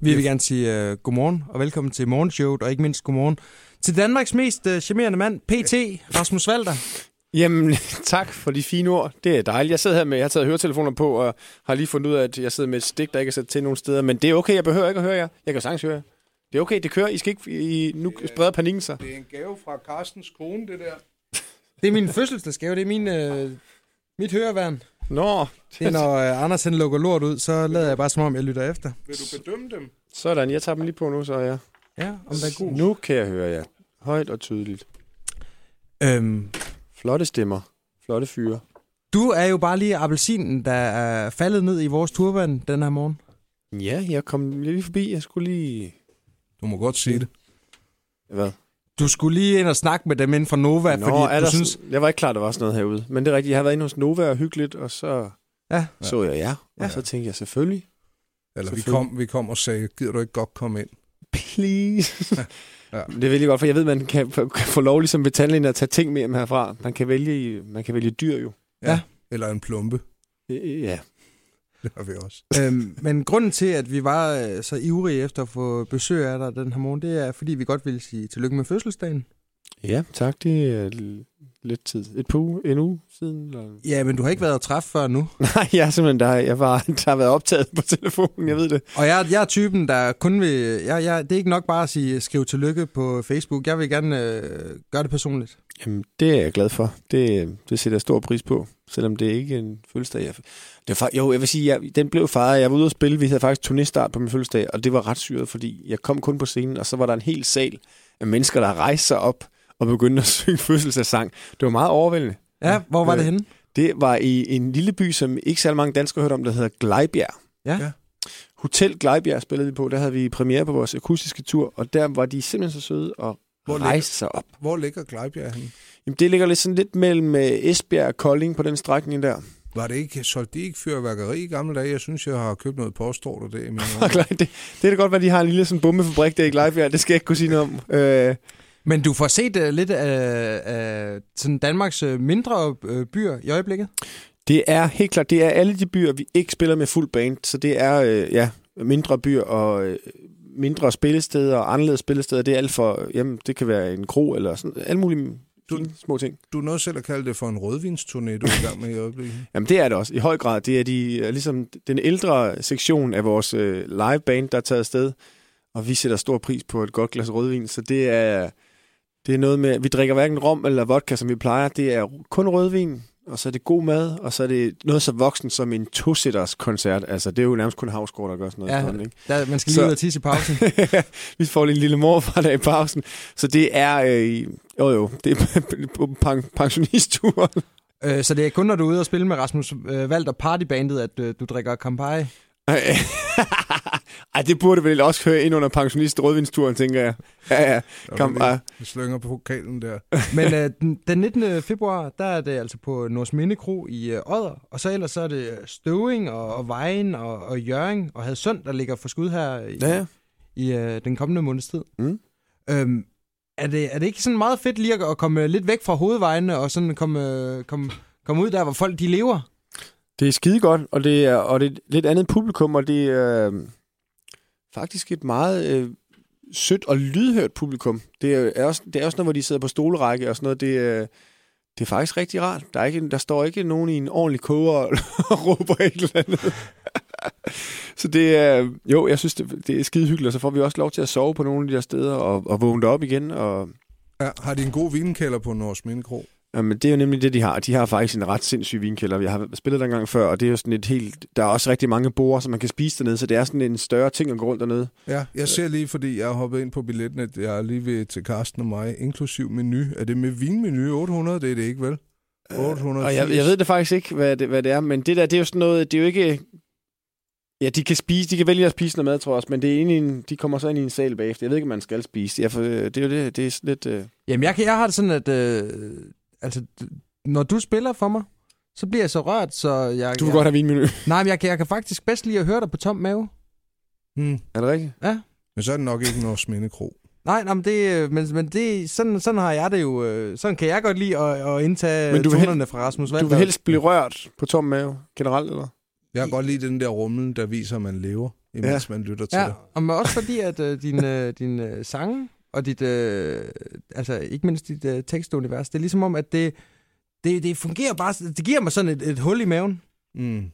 Vi vil gerne sige uh, godmorgen og velkommen til morgenshowet, og ikke mindst godmorgen til Danmarks mest uh, charmerende mand, PT Rasmus Valder. Jamen, tak for de fine ord. Det er dejligt. Jeg sidder her med, jeg har taget høretelefoner på, og har lige fundet ud af, at jeg sidder med et stik, der ikke er sat til nogen steder. Men det er okay, jeg behøver ikke at høre jer. Jeg kan sagtens høre jer. Det er okay, det kører. I skal ikke, I, nu spreder panikken sig. Det er en gave fra Carstens kone, det der. Det er min fødselsdagsgave, det er min, uh, mit høreværn. Nå, Det er, når uh, Anders han lukker lort ud, så lader jeg bare som om, jeg lytter efter. Vil du bedømme dem? sådan. Jeg tager dem lige på nu, så jeg. Ja, om der er god. Nu kan jeg høre jer. Højt og tydeligt. Øhm, Flotte stemmer. Flotte fyre. du er jo bare lige appelsinen, der er faldet ned i vores turban den her morgen. Ja, jeg kom lige forbi. Jeg skulle lige... Du må godt sige det. Hvad? Du skulle lige ind og snakke med dem inden for Nova, Nå, fordi er du der synes... sådan- Jeg var ikke klar, der var sådan noget herude. Men det er rigtigt. Jeg har været inde hos Nova og hyggeligt, og så Ja. så jeg jer. Og Ja. så tænkte jeg selvfølgelig, Eller vi Selvfølgelig. kom, vi kom og sagde, gider du ikke godt komme ind? please. Ja. ja. Det er virkelig godt, for jeg ved, man kan, kan få lov ligesom ved tandlægen at tage ting med hjem herfra. Man kan vælge, man kan vælge dyr jo. Eller en plumpe. Ja. Det har vi også. øhm, men grunden til, at vi var øh, så ivrige efter at få besøg af dig den her morgen, det er, fordi vi godt ville sige tillykke med fødselsdagen. Ja, tak. Det er l- lidt tid. Et par uge, en uge siden. Eller... Ja, men du har ikke været at træffe før nu. Nej, jeg er simpelthen der. Jeg var, der har været optaget på telefonen, jeg ved det. Og jeg, jeg er typen, der kun vil... Jeg, jeg, det er ikke nok bare at sige skriv tillykke på Facebook. Jeg vil gerne øh, gøre det personligt. Jamen, det er jeg glad for. Det, det sætter jeg stor pris på, selvom det ikke er en fødselsdag. Jeg, det var, fa- jo, jeg vil sige, jeg, den blev fejret. Jeg var ude og spille. Vi havde faktisk turnéstart på min fødselsdag, og det var ret syret, fordi jeg kom kun på scenen, og så var der en hel sal af mennesker, der rejste sig op og begyndte at synge fødselsdagssang. Det var meget overvældende. Ja, hvor var øh, det Øh, henne? Det var i en lille by, som ikke særlig mange danskere hørte om, der hedder Glejbjerg. Ja. Ja. Hotel Glejbjerg spillede vi på. Der havde vi premiere på vores akustiske tur, og der var de simpelthen så søde og Hvor ligger- rejste sig op. Hvor ligger Glejbjerg henne? Jamen, det ligger lidt sådan lidt mellem øh, Esbjerg og Kolding på den strækning der. Var det ikke, solgte de ikke fyrværkeri i gamle dage? Jeg synes, jeg har købt noget påstår der det i mine Og år. Glejbjerg, det, det er da godt, hvad de har en lille sådan bombefabrik der i Glejbjerg. Det skal jeg ikke kunne sige noget om. Øh, Men du får set uh, lidt af, af sådan Danmarks øh, mindre øh, byer i øjeblikket. det er helt klart, det er alle de byer, vi ikke spiller med fuld band. Så det er øh, ja, mindre byer og øh, mindre spillesteder og anderledes spillesteder. Det er alt for, øh, jamen, det kan være en kro eller sådan alle mulige Du- fine små ting. Du er nødt selv at kalde det for en rødvinsturné, du er i gang med i øjeblikket. Jamen det er det også, i høj grad. Det er de, øh, ligesom den ældre sektion af vores øh, liveband, der er taget afsted. Og vi sætter stor pris på et godt glas rødvin, så det er, det er noget med, vi drikker hverken rom eller vodka, som vi plejer. Det er kun rødvin, og så er det god mad, og så er det noget så voksen som en to-sitters koncert. Altså, det er jo nærmest kun Havsgaard, der gør sådan noget. Ja. Ja. Sådan, ikke? Der, man skal lige Så- ud og tisse i pausen. vi får lige en lille morfar der i pausen. Så det er, øh, jo jo, det er på pen- pensionistturen. øh, så det er kun, når du er ude og spille med Rasmus øh, Valder Partybandet, at øh, du drikker Campari. Ej. Ej, det burde vel også høre ind under pensionist rødvinsturen, tænker jeg. Ja, ja. Der Kom, ah. var ej. lige- Vi slynger på pokalen der. Men øh, den, den 19. februar, der er det altså på Nordsminde Kro i øh, Odder, og så ellers så er det øh, Støving og, og Vejen og, og Jøring og Hadsund, der ligger for skud her i, ja. i øh, den kommende måneds tid. Mm. Øhm, er, det, er det ikke sådan meget fedt lige at, at komme øh, lidt væk fra hovedvejene og sådan komme, øh, komme, komme ud der, hvor folk de lever? Det er skide godt, og det er, og det er et lidt andet publikum, og det er øh, faktisk et meget øh, sødt og lydhørt publikum. Det er, er også, det er også noget, hvor de sidder på stolerække og sådan noget. Det, øh, det er faktisk rigtig rart. Der, er ikke, der står ikke nogen i en ordentlig koger og, og råber et eller andet. så det er, jo, jeg synes, det, det er skide hyggeligt, og så får vi også lov til at sove på nogle af de der steder og, og vågne op igen, og Ja, har de en god vinkælder på Nords Mindekro? Jamen, det er jo nemlig det, de har. De har faktisk en ret sindssyg vinkælder. Jeg har spillet der engang før, og det er jo sådan et helt... Der er også rigtig mange borer, som man kan spise dernede, så det er sådan en større ting at gå rundt dernede. Ja, jeg ser lige, fordi jeg har hoppet ind på billetten, at jeg er lige ved til Karsten og mig, inklusiv menu. Er det med vinmenu 800? Det er det ikke, vel? 800. Øh, Og jeg, jeg ved det faktisk ikke, hvad det, hvad det er, men det der, det er jo sådan noget... Det er jo ikke... Ja, de kan, spise, de kan vælge at spise noget mad, tror jeg også, men det er inde i en, de kommer så ind i en sal bagefter. Jeg ved ikke, om man skal spise. Ja, for, øh, det er jo det, det er sådan lidt... Øh... Jamen, jeg, kan, jeg har det sådan, at øh, altså, d- når du spiller for mig, så bliver jeg så rørt, så jeg... Du vil jeg, godt have vinmenu. Nej, men jeg, kan- jeg kan faktisk bedst lide at høre dig på tom mave. Hmm. er det rigtigt? Men så er det nok ikke Nords Mindekro. Nej, nej men, det, øh, men, men det, sådan, sådan har jeg det jo. øh, Sådan kan jeg godt lide at, at indtage Men men du du vil hel- tonerne fra Rasmus Du Valberg. vil helst blive rørt på tom mave generelt, eller? Jeg kan godt lide den der rummel, der viser, at man lever. imens ja. man lytter til ja. det. Og men også fordi, at øh, din, øh, din øh, sange og dit, øh, altså ikke mindst dit øh, tekstunivers, det er ligesom om, at det, det, det fungerer bare, det giver mig sådan et, et hul i maven. Mm.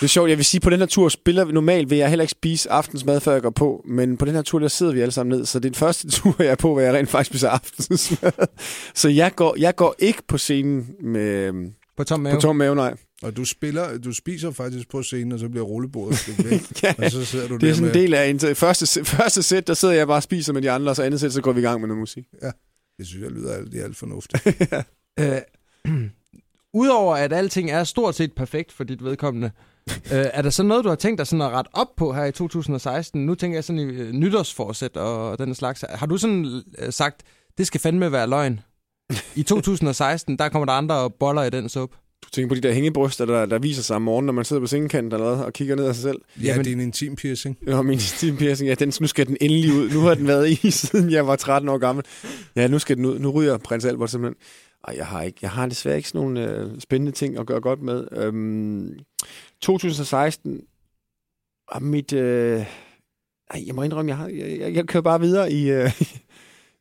Det er sjovt, jeg vil sige, på den her tur spiller vi normalt, vil jeg heller ikke spise aftensmad, før jeg går på, men på den her tur, der sidder vi alle sammen ned, så det er den første tur, jeg er på, hvor jeg rent faktisk spiser aftensmad. så jeg går, jeg går ikke på scenen med, øhm, På tom mave. på tom mave, nej. Og du spiller, du spiser faktisk på scenen, og så bliver rullebordet stukket væk, Ja, og så sidder du Det er der sådan med... en del af en, første, se- første sæt, der sidder jeg bare og spiser med de andre, og så andet sæt, så går vi i gang med noget musik. Det synes jeg lyder alt, det er alt fornuftigt. Øh, Udover at alting er stort set perfekt for dit vedkommende, øh, er der så noget, du har tænkt dig sådan at rette op på her i 2016? Nu tænker jeg sådan i øh, nytårsforsæt og den slags. Har du sådan øh, sagt, det skal fandme være løgn? I 2016, der kommer der andre og boller i den suppe. Du tænker på de der hængebryster, der, der viser sig om morgenen, når man sidder på sengekanten eller hvad, og kigger ned af sig selv. Ja, Jamen- det er en intim piercing. Nå, min steampiercing, ja, den, nu skal den endelig ud. Nu har den været i, siden jeg var 13 år gammel. Ja, nu skal den ud. Nu ryger prins Albert simpelthen. Ej, jeg har, ikke, jeg har desværre ikke sådan nogle øh, spændende ting at gøre godt med. Øhm, 2016 og mit... Øh, ej, jeg må indrømme, jeg, har, jeg, jeg, jeg kører bare videre i... Øh,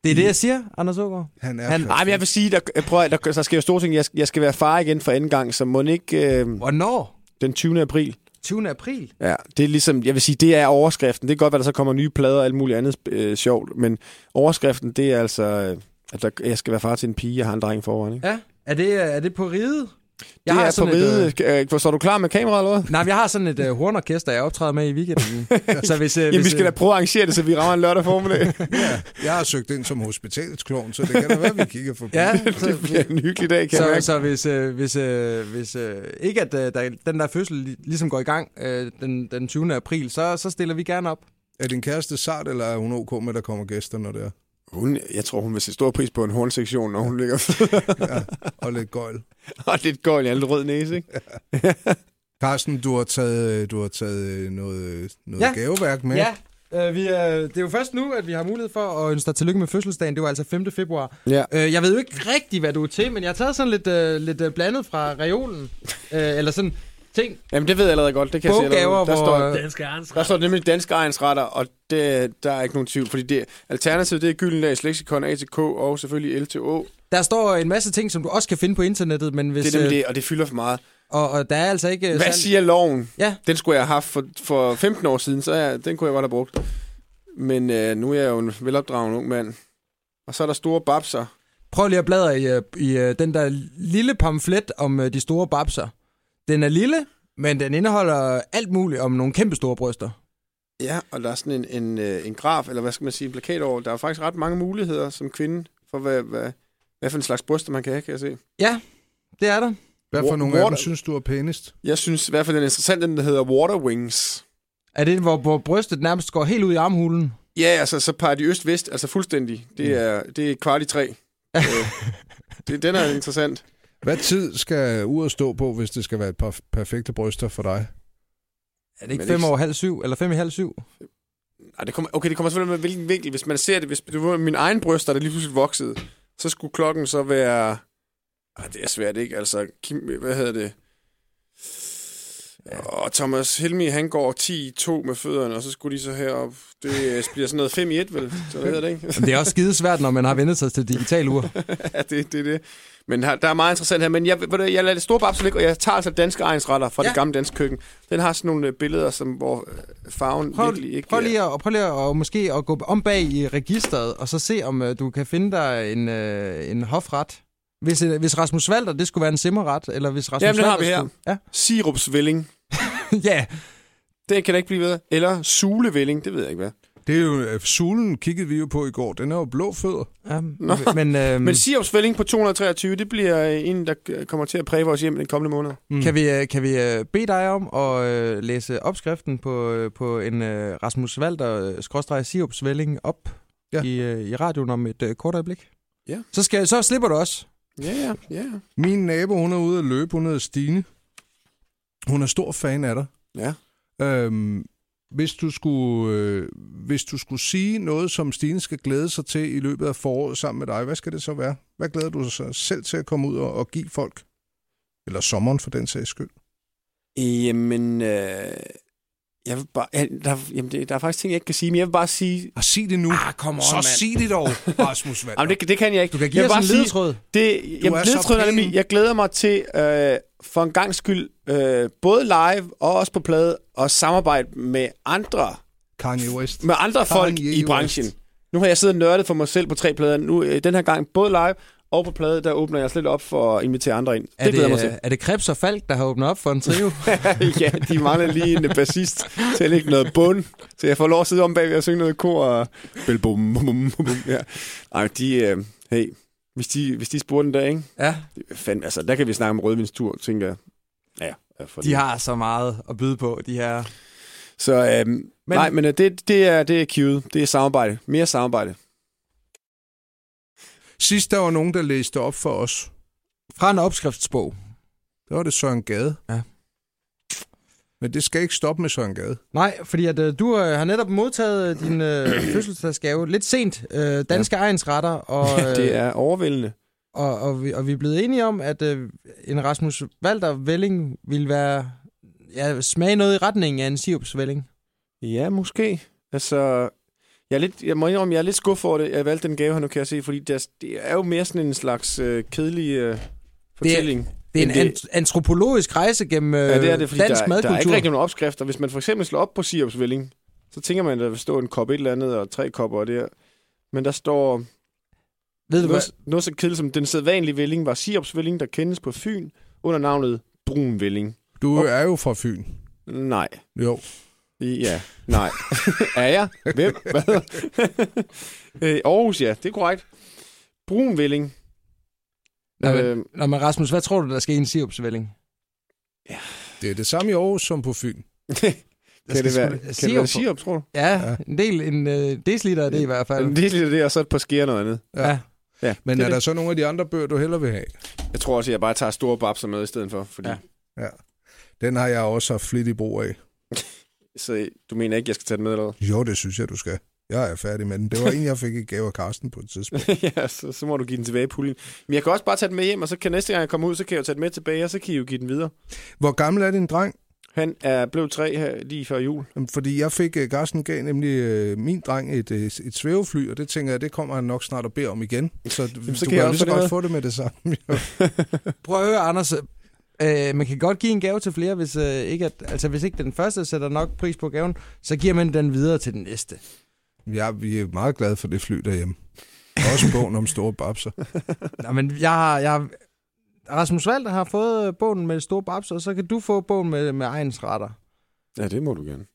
Det er det, jeg siger, Anders Ågaard. Han er Han- perfekt. Nej, men jeg vil sige, der, prøv, at- der, der sker jo store ting. Jeg, skal- jeg skal være far igen for anden gang, så må ikke øh, Hvornår? den 20. april. 20. april? Ja, det er ligesom, jeg vil sige, det er overskriften. Det kan godt være, der så kommer nye plader og alt muligt andet øh, sjovt, men overskriften, det er altså, øh, at der, jeg skal være far til en pige, jeg har en dreng i forvejen. Ikke? Ja. Er det, øh, er det på ride? Jeg det er på Et, ride. øh, Et, øh, står du klar med kameraet, eller hvad? nej, men jeg har sådan et øh, hornorkester, jeg optræder med i weekenden. så hvis, øh, Jamen, vi hvis, skal da øh, prøve at arrangere det, så vi rammer en lørdag formiddag. Jeg har søgt ind som hospitalsklovn, så det kan da være, vi kigger forbi. Ja, det så, bliver en hyggelig dag, kan jeg Så, mærke. så hvis, øh, hvis, øh, hvis øh, ikke at øh, der, den der fødsel li- ligesom går i gang øh, den, den 20. april, så, så stiller vi gerne op. Er din kæreste sart, eller er hun ok med, at der kommer gæster, når det er? Hun, jeg tror, hun vil se stor pris på en hornsektion, når hun ligger Og lidt gøjl. og lidt gøjl i alle rød næse, ikke? Carsten, du har taget, du har taget øh, noget, noget Ja. ja. gaveværk med. Øh, vi, øh, det er jo først nu, at vi har mulighed for at ønske dig tillykke med fødselsdagen. Det var altså 5. februar. Ja. Øh, jeg ved jo ikke rigtigt, hvad du er til, men jeg har taget sådan lidt, øh, lidt øh, blandet fra reolen. Øh, eller sådan ting. Jamen, det ved jeg allerede godt. Det kan jeg se Boggaver, allerede. Der, står, hvor, øh, Danske Arns der står nemlig danske egensretter, og det, der er ikke nogen tvivl. Fordi det, alternativet, det er Gyldendags Lexikon, ATK og selvfølgelig LTO. der står en masse ting, som du også kan finde på internettet, men hvis, Det er nemlig øh, det, og det fylder for meget. og, og der er altså ikke... øh, Hvad særlig- siger loven? Ja. Den skulle jeg have haft for, for 15 år siden, så jeg, den kunne jeg godt have brugt. Men øh, nu er jeg jo en velopdragen ung mand. Og så er der store babser. Prøv lige at bladre i, øh, i øh, den der lille pamflet om øh, de store babser. Den er lille, men den indeholder alt muligt om nogle kæmpe store bryster. Ja, og der er sådan en, en, øh, en graf, eller hvad skal man sige, en plakat over. Der er faktisk ret mange muligheder som kvinde for, hvad, hvad, hvad for en slags bryster man kan have, kan jeg se. Det er der. Hvad for Hvor- nogle hvor af dem der- synes du er pænest? Jeg synes i hvert fald, den er interessant, den der hedder Water Wings. Er det, hvor, hvor brystet nærmest går helt ud i armhulen? Ja, altså, så peger de øst-vest, altså fuldstændig. Det er, det er kvart i tre. Øh, det, den er interessant. Hvad tid skal uret stå på, hvis det skal være et par perfekte bryster for dig? Er det ikke Men fem ikke- over halv syv, eller fem i halv syv? Ej, det kommer, okay, det kommer selvfølgelig med, hvilken vinkel. Hvis man ser det, hvis det var min egen bryster, der lige pludselig voksede, så skulle klokken så være... Ej, det er svært, ikke? Altså, Kim, hvad hedder det? Og Thomas Helmi, han går 10-2 med fødderne, og så skulle de så herop. Det øh, bliver sådan noget 5 i 1, vel? Så hvad hedder det, ikke? Men det er også skidesvært, når man har vendt sig til digitale ur. ja, det, det er det. Men her, der er meget interessant her. Men jeg, ved du, jeg lader det store babse ligge, og jeg tager altså danske egensretter fra ja. Ja. det gamle danske køkken. Den har sådan nogle øh, billeder, som, hvor øh, farven Prøv, virkelig ikke... prøv er- lige, at, prøv lige at, og måske at gå om bag i registret, og så se, om øh, du kan finde dig en, øh, en hofret. Hvis, øh, hvis Rasmus Valder, det skulle være en simmerret, eller hvis Rasmus Jamen, den har Walter vi her. Skulle, ja. øh, Sirupsvælling. ja, Den kan da ikke blive ved. Eller sulevælling, det ved jeg ikke hvad. Det er jo, øh, sulen kiggede vi jo på i går. Den er jo blå fødder. Ja, Nå. men, øh, Men sirupsvælling på 223, det bliver øh, en, der øh, kommer til at præge vores hjem den kommende måned. Mm. kan, vi, øh, kan vi øh, bede dig om at øh, læse opskriften på, øh, på en øh, Rasmus Walter øh, skråstrej siropsvælling op ja. Ja. i, øh, i radioen om et øh, kort øjeblik? Ja. Så, skal, så slipper du også. Ja, ja, ja. Min nabo, hun er ude at løbe. Hun hedder Stine. Hun er stor fan af dig. Ja. Øhm, hvis, du skulle, øh, hvis du skulle sige noget, som Stine skal glæde sig til i løbet af foråret sammen med dig, hvad skal det så være? Hvad glæder du sig selv til at komme ud og, og give folk? Eller sommeren for den sags skyld. Jamen, øh, Jeg vil bare, ja, der, jamen, det, der er faktisk ting, jeg ikke kan sige, men jeg vil bare sige... Og sig det nu. Ah, come on, så mand. sig det dog, Rasmus Valder. Jamen, det, det kan jeg ikke. Du kan jeg give vil os bare en sige- ledetråd. Det, jamen, er så ledetråden er pæn. nemlig, jeg glæder mig til øh, for en gang skyld, øh, både live og også på plade, og samarbejde med andre, Kanye West. med andre folk Kanye i branchen. Nu har jeg siddet og nørdet for mig selv på tre plader. Nu, øh, den her gang, både live og på plade, der åbner jeg slet op for at invitere andre ind. Er det det, glæder jeg mig øh, er det Krebs og Falk, der har åbnet op for en trio? til. ja, de mangler lige en øh, bassist til at lægge noget bund, så jeg får lov at sidde om bagved og synge noget kor og... Bel, bum, bum, bum, bum, ja. Ej, de... Øh, hey, hvis de, hvis de spurgte en dag, ikke? ja, Fandme, altså, der kan vi snakke om rødvinstur, tænker jeg. Ja, ja, for de har så meget at byde på, de her. Så øhm, men... nej, men øh, det, det er, det er cued. Det er samarbejde. Mere samarbejde. Sidst der var nogen, der læste op for os. Fra en opskriftsbog. Der var det Søren Gade. Ja. Men det skal ikke stoppe med Søren Gade. Nej, fordi at, øh, du øh, har netop modtaget øh, din øh, fødselsdagsgave lidt sent. Øh, danske ja. egensretter. Og, øh, det er overvældende. og, og, vi, og vi er blevet enige om, at øh, en Rasmus Walter Velling ville være... Ja, smage noget i retningen af en sirupsvælling. Ja, måske. Altså, jeg, er lidt, jeg må indrømme, jeg er lidt skuffet over det. Jeg valgte den gave her nu, kan jeg se, fordi det er, det er jo mere sådan en slags øh, kedelig øh, fortælling. Det, Det er en Men det- det... antropologisk rejse gennem øh, ja, det er det, fordi dansk der, madkultur. der er ikke rigtig nogen opskrifter. Hvis man for eksempel slår op på sirupsvælling, så tænker man, at der vil stå en kop et eller andet, og tre kopper og det her. Men der står... Ved du hvad? Noget, noget så kedeligt som den sædvanlige vælling var sirupsvælling, der kendes på Fyn under navnet brun vælling. Du er jo fra Fyn. Nej. Jo. Ja. Nej. er jeg? Hvem? Hvad? øh, Aarhus, ja. Det er korrekt. Brun vælling. Nå, men, Øh, Nå, men Rasmus, hvad tror du, der skal i en sirupsvælling? Det er det samme i Aarhus som på Fyn. kan det være, sgu da kan det sirup være på. sirup, tror du? Ja, ja. en del, en øh, deciliter af det i hvert fald. Det er lidt af det, og så et par sker noget andet. Ja. ja. Ja, Men det er, er der det. så nogle af de andre bøger, du hellere vil have? Jeg tror også, at jeg bare tager store babser med i stedet for. Fordi, ja. Ja. Den har jeg også haft flittig brug af. Så du mener ikke, jeg skal tage den med eller hvad? Jo, det synes jeg, du skal. Jeg er færdig med den. Det var en, jeg fik i gave af Karsten på et tidspunkt. ja, så, så, må du give den tilbage i puljen. Men jeg kan også bare tage den med hjem, og så kan næste gang jeg kommer ud, så kan jeg jo tage den med tilbage, og så kan I jo give den videre. Hvor gammel er din dreng? Han er blevet tre her lige før jul. Jamen, Fordi jeg fik, øh, Karsten gav nemlig øh, min dreng et, øh, et svævefly, og det tænker jeg, det kommer han nok snart at bede om igen. Så, Jamen, så så kan du kan, jeg jo også lige få så det med. godt få det med det samme. Prøv at høre, Anders. Øh, man kan godt give en gave til flere, hvis, øh, ikke at, altså, hvis ikke den første sætter nok pris på gaven, så giver man den videre til den næste. ja, vi er meget glade for det fly derhjemme. Også bogen om store babser. Nå, men jeg har... Jeg har Rasmus Walter har fået øh, bogen med det store babs, og så kan du få bogen med, med egensretter. Ja, det må du gerne.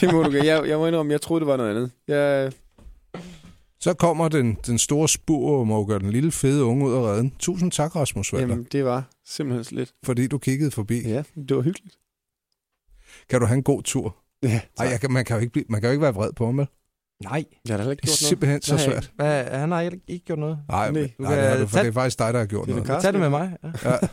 det må du gerne. Jeg, jeg må indrømme, jeg troede, det var noget andet. Jeg, Så kommer den, den store spur og må gøre den lille fede unge ud af redden. Tusind tak, Rasmus Valder, jamen, det var simpelthen så lidt. fordi du kiggede forbi. Ja, det var hyggeligt. Kan du have en god tur? Ja, Ej, jeg kan, man, kan jo ikke blive, man kan jo ikke være vred på ham, vel? Nej, jeg har da heller ikke Det er gjort noget. simpelthen så Nej. svært. hvad, han har ikke, ikke gjort noget. Nej, Nej. nej, Du nej, det kan har du, for tage- det er faktisk dig, der har gjort Det er noget. det Tag det med mig. Ja. Ja.